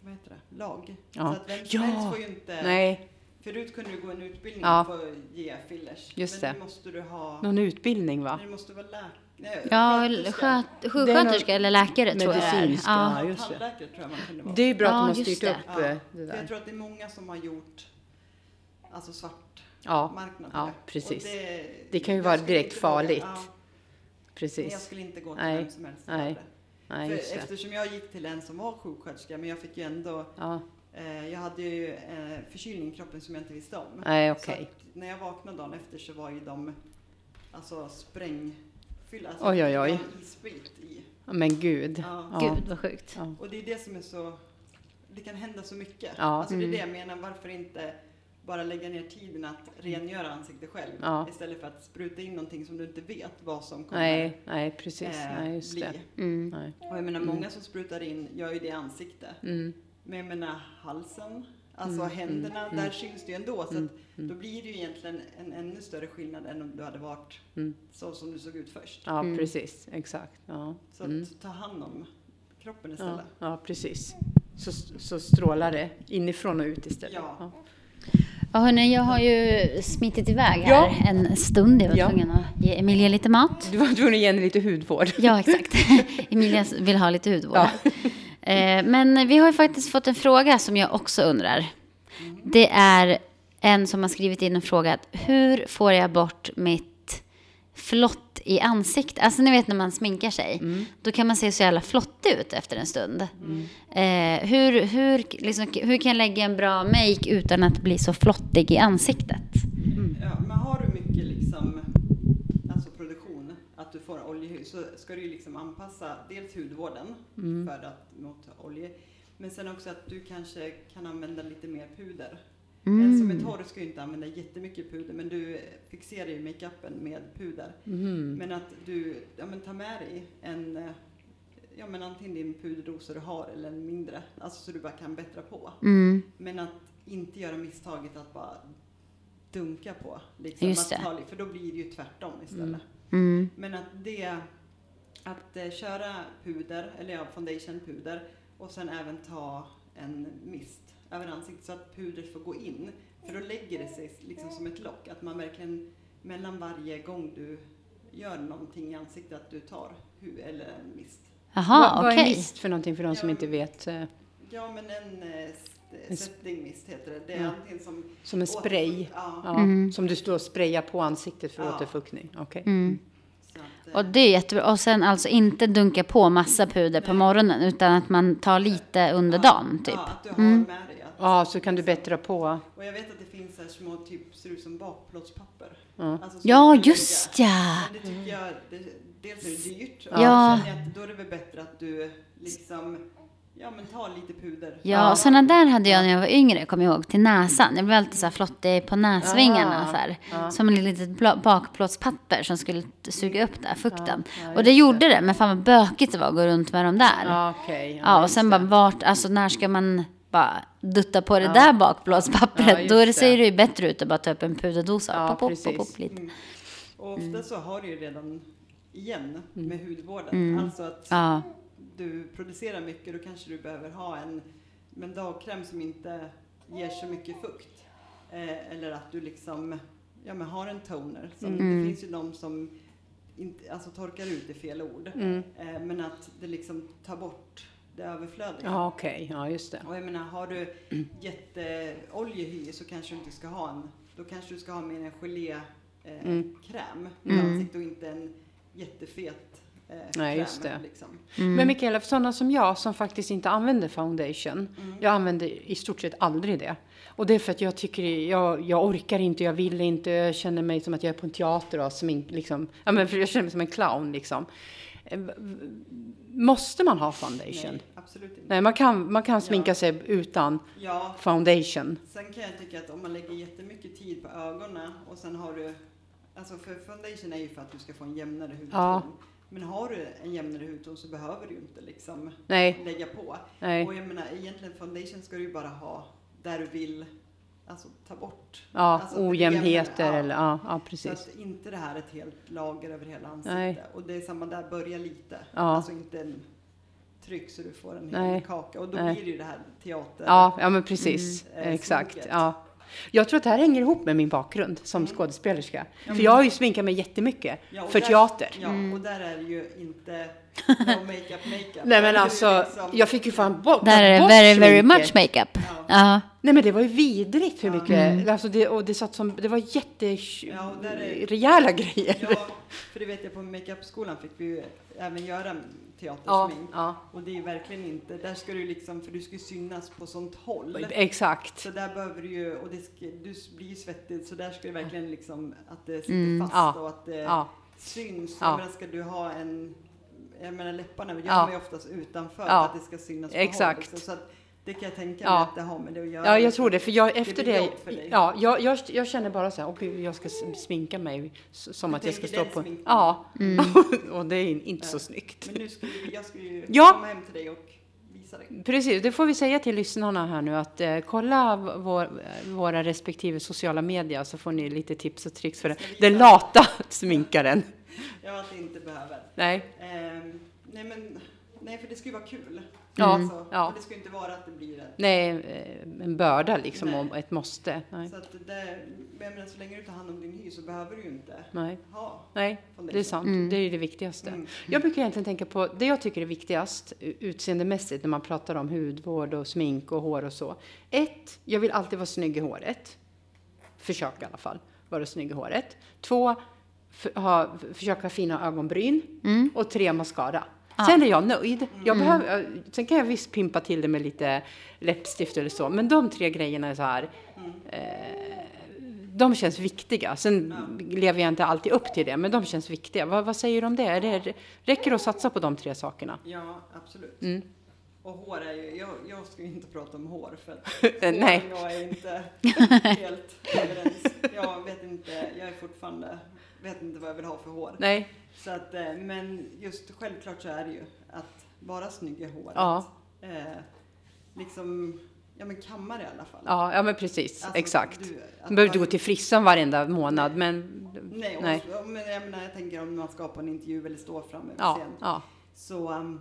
Speaker 2: vad heter det? lag.
Speaker 1: Ja.
Speaker 2: Så att vem som
Speaker 1: Ja.
Speaker 2: helst får ju inte,
Speaker 1: Nej,
Speaker 2: förut kunde du gå en utbildning
Speaker 1: Ja.
Speaker 2: och få ge fillers.
Speaker 1: Just
Speaker 2: men
Speaker 1: det.
Speaker 2: nu måste du ha,
Speaker 1: någon utbildning va?
Speaker 2: men du måste vara läkare. Nej,
Speaker 4: Ja,
Speaker 2: sköterska.
Speaker 4: sköt, sjuksköterska eller läkare tror jag det är.
Speaker 1: Medicinska.
Speaker 4: Ja.
Speaker 1: Ja, just det.
Speaker 2: Tandläkare tror jag man kunde vara.
Speaker 1: Det är ju bra att
Speaker 4: Ja,
Speaker 1: de har
Speaker 4: just
Speaker 1: styrt
Speaker 4: det.
Speaker 1: upp
Speaker 2: Ja,
Speaker 1: eh, det
Speaker 2: För jag
Speaker 1: där.
Speaker 2: tror att det är många som har gjort alltså svart
Speaker 1: Ja,
Speaker 2: marknad.
Speaker 1: ja,
Speaker 2: på det. Och
Speaker 1: precis.
Speaker 2: det,
Speaker 1: Det kan ju
Speaker 2: jag
Speaker 1: vara
Speaker 2: skulle
Speaker 1: direkt
Speaker 2: inte våga-
Speaker 1: farligt.
Speaker 2: Ja, men jag
Speaker 1: precis.
Speaker 2: skulle inte gå till
Speaker 1: Nej,
Speaker 2: vem som helst.
Speaker 1: nej,
Speaker 2: och göra
Speaker 1: Nej,
Speaker 2: det.
Speaker 1: just
Speaker 2: För
Speaker 1: det.
Speaker 2: eftersom jag gick till en som var sjuksköterska, men jag fick ju ändå,
Speaker 1: Ja,
Speaker 2: eh, jag hade ju eh, förkylning i kroppen som jag inte visste om.
Speaker 1: nej,
Speaker 2: Så
Speaker 1: Ah, okej.
Speaker 2: att när jag vaknade dagen efter så var ju de alltså sprängfyllda. Alltså,
Speaker 1: Oj, oj, oj.
Speaker 2: det var isbit i.
Speaker 1: Men gud.
Speaker 2: Ja.
Speaker 1: Ja.
Speaker 4: Gud vad sjukt.
Speaker 1: Ja.
Speaker 2: Och det är det som är så, det kan hända så mycket.
Speaker 1: Ja.
Speaker 2: Alltså det är
Speaker 1: Mm. Mm.
Speaker 2: det jag menar, varför inte bara lägga ner tiden att rengöra ansiktet själv
Speaker 1: Ja.
Speaker 2: istället för att spruta in någonting som du inte vet vad som kommer
Speaker 1: Nej, nej, precis.
Speaker 2: eh,
Speaker 1: Nej, just
Speaker 2: bli.
Speaker 1: det.
Speaker 4: Mm.
Speaker 1: Nej.
Speaker 2: Och jag menar, många som sprutar in gör ju det i ansiktet.
Speaker 1: Mm.
Speaker 2: Men jag menar halsen, alltså händerna,
Speaker 1: mm,
Speaker 2: där syns det ju ändå. Så att då blir det ju egentligen en ännu större skillnad än om du hade varit
Speaker 1: Mm.
Speaker 2: så som du såg ut först.
Speaker 1: Ja,
Speaker 4: Mm.
Speaker 1: precis. Exakt. Ja.
Speaker 2: Så att
Speaker 1: Mm.
Speaker 2: ta hand om kroppen
Speaker 1: Ja,
Speaker 2: istället.
Speaker 1: ja, precis. Så, så strålar det inifrån och ut istället.
Speaker 2: Ja.
Speaker 4: Ja, hörni, jag har ju smitit iväg här
Speaker 1: Ja.
Speaker 4: en stund. Jag var
Speaker 1: Ja.
Speaker 4: tvungen att ge Emilia lite mat.
Speaker 1: Du var tvungen att ge henne lite
Speaker 2: [LAUGHS]
Speaker 1: hudvård.
Speaker 4: Ja, exakt. [LAUGHS] Emilia vill ha lite hudvård.
Speaker 1: Ja.
Speaker 4: Eh, Men vi har ju faktiskt fått en fråga som jag också undrar. Det är en som har skrivit in en fråga. Hur får jag bort mitt flott i ansiktet? Alltså ni vet när man sminkar sig.
Speaker 1: Mm.
Speaker 4: Då kan man se så jävla flottig ut efter en stund. Eh, hur, hur, liksom, hur kan jag lägga en bra make utan att bli så flottig i ansiktet?
Speaker 2: Ja, men har du mycket liksom, alltså produktion, att du får oljehud, så ska du ju liksom anpassa dels hudvården för att, mot olje, men sen också att du kanske kan använda lite mer puder.
Speaker 4: Mm.
Speaker 2: En som är
Speaker 1: Mm.
Speaker 2: torr ska ju inte använda jättemycket puder, men du fixerar ju makeupen med puder.
Speaker 1: Mhm. Mm.
Speaker 2: Men att du ja, men, tar med dig en, eh, ja, men antingen din puderdosa du har eller en mindre, alltså så du bara kan bättra på.
Speaker 4: Mm.
Speaker 2: Men att inte göra misstaget att bara dunka på. Liksom,
Speaker 4: Just
Speaker 2: att
Speaker 4: det.
Speaker 2: ta, för då blir det ju tvärtom istället.
Speaker 4: Mm.
Speaker 2: Men att det, att eh, köra puder, eller ja, foundation puder och sen även ta en mist över ansiktet så att pudret får gå in. För då lägger det sig liksom som ett lock, att man verkligen mellan varje gång du gör någonting i ansiktet att du tar hu eller en mist.
Speaker 4: Jaha,
Speaker 1: vad, vad är
Speaker 4: okej.
Speaker 1: mist för någonting för de som inte vet? eh,
Speaker 2: Ja men en eh,
Speaker 1: En
Speaker 2: st-
Speaker 1: sp-
Speaker 2: setting mist heter det. Det är
Speaker 1: Ja.
Speaker 2: antingen som
Speaker 1: Som en spray?
Speaker 2: Ja.
Speaker 1: Ja, Som du står och sprayar på ansiktet för
Speaker 2: Ja.
Speaker 1: återfuktning? Okej.
Speaker 4: Mm.
Speaker 2: Så att, eh,
Speaker 4: Och det är jättebra. Och sen alltså inte dunka på massa puder på morgonen utan att man tar lite under dagen typ.
Speaker 2: Ja, att du har med dig. Att,
Speaker 1: Ja, så kan du bättra på.
Speaker 2: Och jag vet att det finns så här små, typ, ser ut som bakplåtspapper.
Speaker 1: Ja.
Speaker 2: Alltså, som
Speaker 4: Ja,
Speaker 2: du kan
Speaker 4: just
Speaker 2: lägga.
Speaker 4: ja!
Speaker 2: Men det tycker jag, det, dels är det dyrt och
Speaker 4: Ja.
Speaker 2: ja. att då är det väl bättre att du liksom, ja men ta lite puder.
Speaker 4: Ja, och sådana där hade jag när jag var yngre, kommer jag ihåg, till näsan. Jag blev alltid så här flottig på näsvingarna.
Speaker 1: Ah,
Speaker 4: så här. Som ett litet bla- bakplåtspapper som skulle t- suga upp där fukten. och det gjorde det, men fan vad bökigt det var att gå runt med de där. Ja,
Speaker 1: Ja, okej.
Speaker 4: och
Speaker 1: just
Speaker 4: sen bara
Speaker 1: det.
Speaker 4: vart, alltså när ska man bara dutta på det där bakplåtspappret?
Speaker 1: Ja, just
Speaker 4: Då är det,
Speaker 1: det.
Speaker 4: ser det ju bättre ut att bara ta upp en puderdosa.
Speaker 1: Ja,
Speaker 4: pop, pop, pop,
Speaker 1: precis.
Speaker 4: pop, lite.
Speaker 2: Mm. Och ofta
Speaker 4: Mm.
Speaker 2: så har du ju redan igen med hudvården.
Speaker 4: Mm.
Speaker 2: Alltså att
Speaker 4: Ja.
Speaker 2: du producerar mycket, då kanske du behöver ha en men dagkräm som inte ger så mycket fukt. Eh, eller att du liksom ja, men har en toner. Som,
Speaker 1: Mm.
Speaker 2: Det finns ju de som inte, alltså torkar ut är fel ord,
Speaker 1: Mm.
Speaker 2: eh, men att det liksom tar bort det överflödiga.
Speaker 1: Ja, okej. Ja, just det.
Speaker 2: Och jag menar, har du jätteoljehy så kanske du inte ska ha en, då kanske du ska ha mer en gelékräm eh,
Speaker 1: Mm.
Speaker 2: kräm i ansiktet och inte en jättefet eh, kräm.
Speaker 1: just det.
Speaker 2: Liksom.
Speaker 1: Men Mikaela, för sådana som jag som faktiskt inte använder foundation.
Speaker 2: Mm.
Speaker 1: Jag använder i stort sett aldrig det. Och det är för att jag tycker, jag, jag orkar inte, jag vill inte, jag känner mig som att jag är på en teater och som liksom, ja men för jag känner mig som en clown liksom. Eh, v- v- Måste man ha foundation?
Speaker 2: Nej,
Speaker 1: Nej,
Speaker 2: absolut inte.
Speaker 1: man, kan, man kan sminka sig utan
Speaker 2: Ja,
Speaker 1: foundation.
Speaker 2: sen kan jag tycka att om man lägger jättemycket tid på ögonen och sen har du, alltså för foundation är ju för att du ska få en jämnare hudton.
Speaker 1: Ja.
Speaker 2: Men har du en jämnare hudton så behöver du ju inte liksom
Speaker 1: Nej,
Speaker 2: lägga på.
Speaker 1: nej.
Speaker 2: Alltså, Och jag menar egentligen foundation ska du ju bara ha där du vill alltså, ta bort.
Speaker 1: Ja,
Speaker 2: alltså, att det blir
Speaker 1: ojämnheter
Speaker 2: jämnare.
Speaker 1: eller ja, ja
Speaker 2: Så
Speaker 1: precis.
Speaker 2: att inte det här är ett helt lager över hela ansiktet.
Speaker 1: Nej.
Speaker 2: Och det är samma där, börja lite.
Speaker 1: Ja.
Speaker 2: Alltså inte en tryck så du får en hel
Speaker 1: Nej.
Speaker 2: kaka. Och då
Speaker 1: Nej.
Speaker 2: blir det ju det här teater.
Speaker 1: Ja, ja men precis.
Speaker 2: Mm. Eh,
Speaker 1: Exakt.
Speaker 2: sminket.
Speaker 1: Ja. Jag tror att det här hänger ihop med min bakgrund som
Speaker 2: Mm.
Speaker 1: skådespelerska. För jag har ju sminkat mig jättemycket
Speaker 2: Ja, och
Speaker 1: för
Speaker 2: där-
Speaker 1: teater.
Speaker 2: Ja, och där är det ju inte no makeup makeup.
Speaker 1: Nej
Speaker 2: Där är
Speaker 1: men
Speaker 2: det
Speaker 1: alltså,
Speaker 2: liksom-
Speaker 1: jag fick ju fan bort
Speaker 4: Där är det
Speaker 1: bort
Speaker 4: very, very
Speaker 1: sminket.
Speaker 4: much makeup. Ja.
Speaker 1: Nej men det var ju vidrigt hur mycket,
Speaker 4: Mm.
Speaker 1: alltså det, och det satt som, det var jätte,
Speaker 2: Ja, och där är-
Speaker 1: rejäla grejer.
Speaker 2: Ja, för det vet jag på makeupskolan fick vi ju även göra teater
Speaker 1: Ja,
Speaker 2: och smink.
Speaker 1: ja.
Speaker 2: Och det är ju verkligen inte, där ska du liksom, för du ska ju synas på sånt håll.
Speaker 1: Exakt.
Speaker 2: Så där behöver du ju, och det ska, du blir ju svettig, så där ska det verkligen liksom att det sitter fast
Speaker 1: Mm, ja,
Speaker 2: och att det
Speaker 1: ja.
Speaker 2: syns.
Speaker 1: Ja.
Speaker 2: Jag menar, ska du ha en, jag menar läpparna gör
Speaker 1: Ja.
Speaker 2: man ju oftast utanför
Speaker 1: Ja.
Speaker 2: för att det ska synas på
Speaker 1: Exakt.
Speaker 2: håll. Liksom. Så att det kan jag tänka mig
Speaker 1: Ja.
Speaker 2: att det har med det att göra. liksom.
Speaker 1: Ja, jag tror det. För jag, efter
Speaker 2: blir
Speaker 1: det,
Speaker 2: jobb för dig.
Speaker 1: ja, jag, jag, jag känner bara så här, åh gud, jag ska s- sminka mig s- som att jag ska
Speaker 2: tänker
Speaker 1: stå
Speaker 2: den
Speaker 1: på...
Speaker 2: sminkningen.
Speaker 1: Ja, [LAUGHS] och det är in- inte så snyggt.
Speaker 2: Men nu ska ju, jag ska ju
Speaker 1: Ja.
Speaker 2: komma hem till dig och visa dig.
Speaker 1: Precis, det får vi säga till lyssnarna här nu att eh, kolla v- vår, eh, våra respektive sociala medier så får ni lite tips och tricks för det. den lata [LAUGHS] sminkaren.
Speaker 2: Ja, att det inte behöver.
Speaker 1: Nej,
Speaker 2: Ehm, nej, men, nej, för det ska ju vara kul.
Speaker 1: Ja, Mm.
Speaker 2: Alltså,
Speaker 1: ja.
Speaker 2: Och det ska ju inte vara att det blir det.
Speaker 1: nej, eh, en börda liksom
Speaker 2: Nej.
Speaker 1: och ett måste. Nej,
Speaker 2: Så, att det, där- men jag menar, så länge du tar hand om din hy så behöver du ju inte
Speaker 1: nej.
Speaker 2: ha. Mm.
Speaker 1: Nej, det är sant. Det är ju det viktigaste. Jag brukar egentligen tänka på det jag tycker är viktigast u- utseendemässigt när man pratar om hudvård och smink och hår och så. Ett, jag vill alltid vara snygg i håret. Försök i alla fall vara snygg i håret. Två, f- ha, f- försöka ha fina ögonbryn.
Speaker 2: Mm.
Speaker 1: Och tre, mascara.
Speaker 2: Ah.
Speaker 1: Sen är jag nöjd. Jag behöver, eh, sen kan jag visst pimpa till det med lite läppstift eller så, men de tre grejerna är så här
Speaker 2: Mm.
Speaker 1: eh, de känns viktiga. Sen lever jag inte alltid upp till det, men de känns viktiga. Vad, vad säger du om det? Är det? Räcker det att satsa på de tre sakerna?
Speaker 2: Ja, absolut.
Speaker 1: Mm.
Speaker 2: Och hår är ju, jag, jag ska ju inte prata om hår
Speaker 1: [LAUGHS]
Speaker 2: för att hår och
Speaker 1: Nej.
Speaker 2: jag är
Speaker 1: [LAUGHS]
Speaker 2: inte helt överens. Jag vet inte, jag är fortfarande, vet inte vad jag vill ha för hår.
Speaker 1: Nej.
Speaker 2: Så att, eh, men just självklart så är det ju att vara snygg i håret.
Speaker 1: Ja.
Speaker 2: Eh, liksom, ja men kammar i alla fall.
Speaker 1: Ja, ja men precis.
Speaker 2: Alltså,
Speaker 1: Exakt.
Speaker 2: du- att
Speaker 1: Man behöver inte
Speaker 2: vara-
Speaker 1: gå till frissan varenda månad, men...
Speaker 2: Nej, och,
Speaker 1: Nej.
Speaker 2: och- men jag menar, jag tänker om man ska på en intervju eller står framme på
Speaker 1: Ja,
Speaker 2: scen.
Speaker 1: ja,
Speaker 2: Så, um,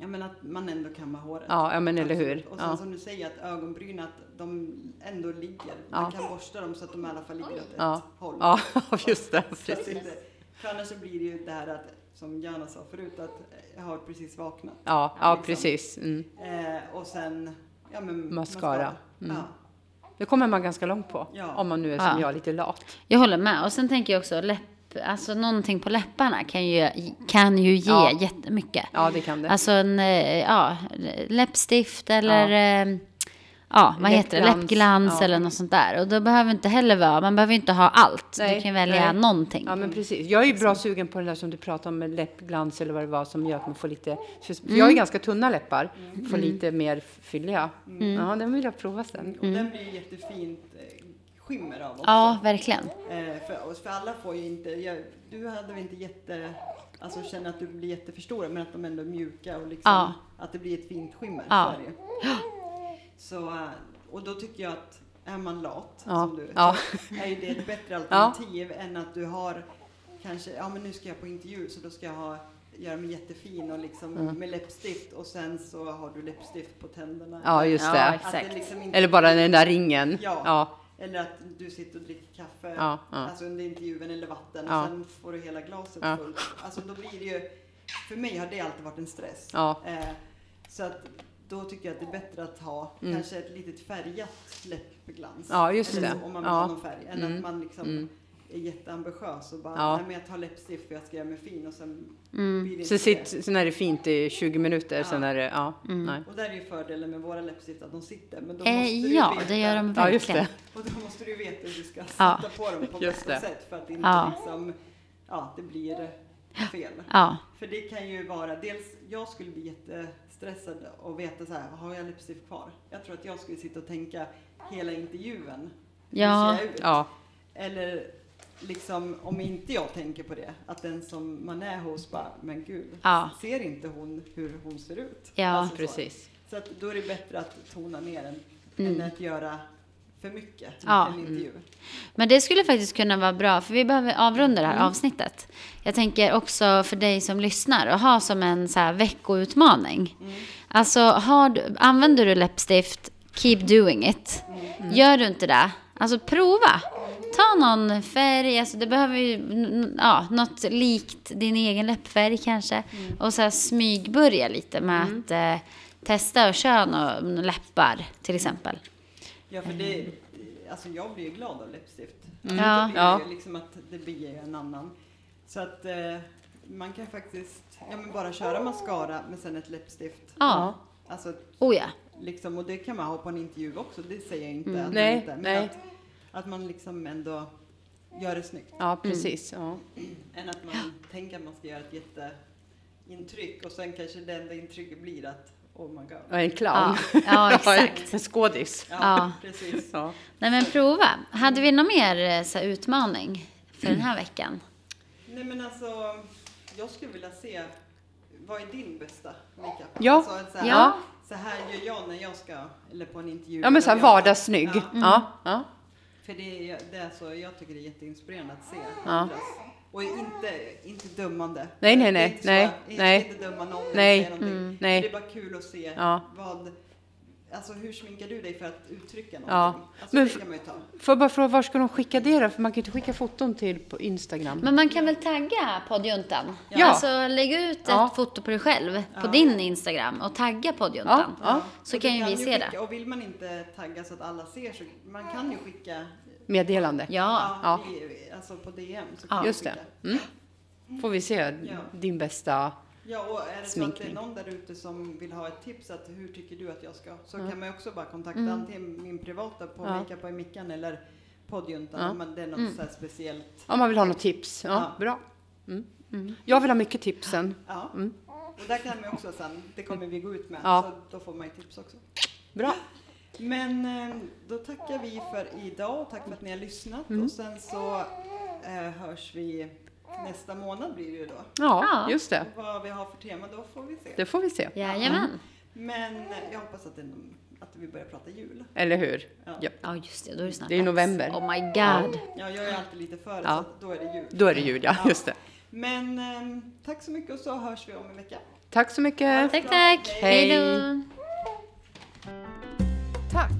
Speaker 2: jag menar att man ändå kammar håret.
Speaker 1: ja, ja, men eller hur?
Speaker 2: Absolut. Och sen
Speaker 1: Ja,
Speaker 2: som du säger att ögonbrynen, att de ändå ligger. Man kan borsta dem så att de i alla fall ligger åt ett
Speaker 1: Ja.
Speaker 2: håll.
Speaker 1: ja [LAUGHS] just det.
Speaker 2: Så att
Speaker 1: Precis.
Speaker 2: inte- För annars så blir det ju det här att, som Jana sa förut, att jag har precis vaknat.
Speaker 1: Ja, ja
Speaker 2: Liksom.
Speaker 1: precis. Mm.
Speaker 2: Eh, och sen, ja men
Speaker 1: Mascara. Mm.
Speaker 2: Ja.
Speaker 1: Det kommer man ganska långt på,
Speaker 2: Ja.
Speaker 1: om man nu är som
Speaker 4: Ja.
Speaker 1: jag, lite lat.
Speaker 4: Jag håller med. Och sen tänker jag också läpp, alltså någonting på läpparna kan ju, kan ju ge
Speaker 1: Ja.
Speaker 4: jättemycket.
Speaker 1: Ja, det kan det.
Speaker 4: Alltså en, eh, ja, läppstift eller, eh, ja, vad heter det,
Speaker 1: Läppglans.
Speaker 4: läppglans
Speaker 1: Ja.
Speaker 4: eller något sånt där. Och då behöver inte heller vara, man behöver inte ha allt.
Speaker 1: Nej,
Speaker 4: Du kan välja
Speaker 1: nej.
Speaker 4: någonting.
Speaker 1: Ja, men precis. Jag är ju bra sugen på den där som du pratade om med läppglans eller vad det var som gör att man får lite... För
Speaker 4: Mm.
Speaker 1: jag har ju ganska tunna läppar, får lite mer fylliga.
Speaker 4: Mm.
Speaker 1: Ja, den vill jag prova sen.
Speaker 2: Och den blir ju jättefint eh, skimmer av också.
Speaker 4: Ja, verkligen.
Speaker 2: Eh, för, och för alla får ju inte, jag, du hade väl inte jätte, alltså känna att du blir jätteförstora men att de ändå är mjuka och liksom
Speaker 4: Ja.
Speaker 2: att det blir ett fint skimmer.
Speaker 4: Ja.
Speaker 2: Så är det ju. Så, eh, och då tycker jag att är man lat,
Speaker 1: Ja.
Speaker 2: som du,
Speaker 1: Ja.
Speaker 2: så är ju det ett bättre
Speaker 1: [LAUGHS]
Speaker 2: alternativ än att du har kanske, ja men nu ska jag på intervju så då ska jag ha göra mig jättefin och liksom
Speaker 1: Mm.
Speaker 2: med läppstift och sen så har du läppstift på tänderna.
Speaker 1: Ja, just
Speaker 4: Ja,
Speaker 1: det.
Speaker 4: exakt.
Speaker 2: Att det liksom inte
Speaker 1: Eller bara den där ringen.
Speaker 2: Ja.
Speaker 1: Ja.
Speaker 2: Eller att du sitter och dricker kaffe
Speaker 1: Ja, ja.
Speaker 2: Alltså under intervjun eller vatten
Speaker 1: Ja.
Speaker 2: och sen får du hela glaset
Speaker 1: Ja.
Speaker 2: fullt. Alltså då blir det ju, för mig har det alltid varit en stress.
Speaker 1: Ja.
Speaker 2: Eh, så att då tycker jag att det är bättre att ha kanske ett litet färgat läppglans.
Speaker 1: Mm. Ja, just
Speaker 2: eller
Speaker 1: det.
Speaker 2: Så, om man vill
Speaker 1: Ja.
Speaker 2: ha någon färg. Än
Speaker 1: Mm.
Speaker 2: att man liksom
Speaker 1: Mm.
Speaker 2: är jätteambitiös och bara,
Speaker 1: Ja. Mm.
Speaker 2: nej men jag tar läppstift för jag ska göra mig fin och sen blir det
Speaker 1: Så
Speaker 2: inte det.
Speaker 1: sitt, sen är det fint i 20 minuter, sen är det... Ja,
Speaker 4: Mm.
Speaker 1: nej.
Speaker 2: Och där är ju fördelen med våra läppstift att de sitter. Men då måste
Speaker 4: Eh,
Speaker 2: du
Speaker 4: ja,
Speaker 2: veta-
Speaker 4: det gör de
Speaker 1: Ja, just
Speaker 4: verkligen.
Speaker 1: det.
Speaker 2: Och då måste du veta hur du ska
Speaker 4: Ja.
Speaker 2: sätta på dem på
Speaker 1: Just
Speaker 2: bästa
Speaker 1: det.
Speaker 2: sätt för att inte
Speaker 4: Ja.
Speaker 2: liksom, ja, det blir fel.
Speaker 4: Ja,
Speaker 2: För det kan ju vara, dels jag skulle bli jättestressad och veta så här, har jag läppstift kvar? Jag tror att jag skulle sitta och tänka hela intervjun. Hur
Speaker 4: Ja.
Speaker 2: ser jag ut?
Speaker 1: Ja,
Speaker 2: Eller liksom om inte jag tänker på det, att den som man är hos bara, men gud,
Speaker 4: Ja.
Speaker 2: ser inte hon hur hon ser ut? Alltså
Speaker 4: Ja.
Speaker 2: så.
Speaker 1: precis.
Speaker 2: Så att då är det bättre att tona ner än
Speaker 1: Mm.
Speaker 2: än att göra för mycket
Speaker 4: Ja.
Speaker 2: en intervju.
Speaker 4: Men det skulle faktiskt kunna vara bra, för vi behöver avrunda det här avsnittet. Jag tänker också för dig som lyssnar, att ha som en så här veckoutmaning. Alltså, har du, använder du läppstift, keep doing it. Gör du inte det, alltså prova. Ta någon färg, alltså det behöver ju, n- n- ja, något likt din egen läppfärg kanske. Och så här smygbörja lite med att eh, testa och kön och mm, läppar till exempel.
Speaker 2: Ja, för det, alltså jag blir ju glad av läppstift.
Speaker 4: Ja.
Speaker 2: Det blir
Speaker 1: Ja.
Speaker 2: ju liksom att det blir ju en annan. Så att eh, man kan faktiskt ja, men bara köra mascara men sen ett läppstift.
Speaker 4: Ja,
Speaker 2: Alltså,
Speaker 4: oh ja.
Speaker 2: liksom, och det kan man ha på en intervju också, det säger jag inte. att man
Speaker 1: Mm. Nej,
Speaker 2: inte men
Speaker 1: nej.
Speaker 2: Att, att man liksom ändå gör det snyggt.
Speaker 1: Ja, precis.
Speaker 4: Mm.
Speaker 1: Ja.
Speaker 2: Än att man tänker att man ska göra ett jätteintryck och sen kanske det enda intrycket blir att oh my god.
Speaker 1: Ja, en clown. [LAUGHS]
Speaker 4: Ja, ja, exakt.
Speaker 1: en skådis.
Speaker 4: Ja.
Speaker 2: precis.
Speaker 1: Ja.
Speaker 4: Nej men prova. Hade vi någon mer eh, så här, utmaning för den här veckan?
Speaker 2: Nej men alltså, jag skulle vilja se, vad är din bästa makeup?
Speaker 1: Ja.
Speaker 2: Alltså, så, här,
Speaker 4: Ja.
Speaker 2: så här gör jag när jag ska, eller på en intervju.
Speaker 1: ja, men så här
Speaker 2: När jag-
Speaker 1: vardagssnygg. Mm.
Speaker 2: Ja,
Speaker 1: Ja, ja.
Speaker 2: för det är, det är så, jag tycker det är jätteinspirerande att se
Speaker 1: Ja.
Speaker 2: andras. Och inte, inte dömande.
Speaker 1: Nej, nej,
Speaker 2: Det är
Speaker 1: nej,
Speaker 2: inte så-
Speaker 1: nej,
Speaker 2: jag ska
Speaker 1: nej.
Speaker 2: Inte döma någon eller
Speaker 1: Nej,
Speaker 2: säga någonting.
Speaker 1: mm, nej.
Speaker 2: Det är bara kul att se
Speaker 1: Ja.
Speaker 2: vad, alltså hur sminkar du dig för att uttrycka någonting?
Speaker 1: Ja.
Speaker 2: Alltså,
Speaker 1: Men
Speaker 2: det
Speaker 1: f-
Speaker 2: kan man ju ta.
Speaker 1: Får jag bara fråga, var ska de skicka det då? För man kan ju inte skicka foton till på Instagram.
Speaker 4: Men man kan väl tagga poddjuntan?
Speaker 1: Ja.
Speaker 4: Alltså lägga ut ett
Speaker 1: Ja.
Speaker 4: foto på dig själv på din Instagram och tagga poddjuntan.
Speaker 1: Ja, ja.
Speaker 4: Så
Speaker 2: Och det
Speaker 4: kan ju vi se
Speaker 2: skicka,
Speaker 4: det.
Speaker 2: Och vill man inte tagga så att alla ser så man kan ju skicka
Speaker 1: Meddelande.
Speaker 4: Ja,
Speaker 2: Ja,
Speaker 1: Ja.
Speaker 2: i- alltså på DM. Så
Speaker 4: Ja.
Speaker 2: kan
Speaker 1: Just
Speaker 2: vi
Speaker 1: det.
Speaker 2: skicka.
Speaker 1: Mm. Får vi se din bästa...
Speaker 2: Ja, och är det så att
Speaker 1: Sminkning.
Speaker 2: det är någon där ute som vill ha ett tips att hur tycker du att jag ska? Så kan man ju också bara kontakta antingen min privata på
Speaker 1: Mm. Ja.
Speaker 2: Makeup by Mickan eller poddjuntan
Speaker 1: Ja. Mm.
Speaker 2: om man- det är något så här speciellt.
Speaker 1: Om man vill ha något tips. Ja,
Speaker 2: Ja.
Speaker 1: Bra. Mm. Jag vill ha mycket tipsen.
Speaker 2: Ja.
Speaker 1: Mm.
Speaker 2: Och där kan man ju också sen, det kommer vi gå ut med,
Speaker 1: Ja.
Speaker 2: så då får man ju tips också.
Speaker 1: Bra.
Speaker 2: Men eh, då tackar vi för idag och tack för att ni har lyssnat
Speaker 1: Mm.
Speaker 2: och sen så eh, hörs vi nästa månad blir det ju då.
Speaker 1: Ja,
Speaker 4: Ja.
Speaker 1: just det.
Speaker 2: Vad vi har för tema då får vi se.
Speaker 1: Det får vi se. Mm.
Speaker 4: Jajamän.
Speaker 2: Men eh, jag hoppas att, det, att vi börjar prata jul.
Speaker 1: Eller hur?
Speaker 2: Ja.
Speaker 1: Ja.
Speaker 4: Ja just det, då är det snart
Speaker 1: Det är
Speaker 4: dags.
Speaker 1: november.
Speaker 4: Oh my god.
Speaker 2: Ja, jag är alltid lite före,
Speaker 1: Ja.
Speaker 2: så att då är det jul.
Speaker 1: Då är det jul, ja. Just det.
Speaker 2: Men ehm, tack så mycket och så hörs vi om en vecka.
Speaker 1: Tack så mycket.
Speaker 4: Tack tack.
Speaker 1: Hej.
Speaker 4: Hejdå.
Speaker 5: Tack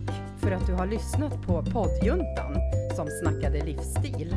Speaker 5: för att du har lyssnat på poddjuntan som snackade livsstil.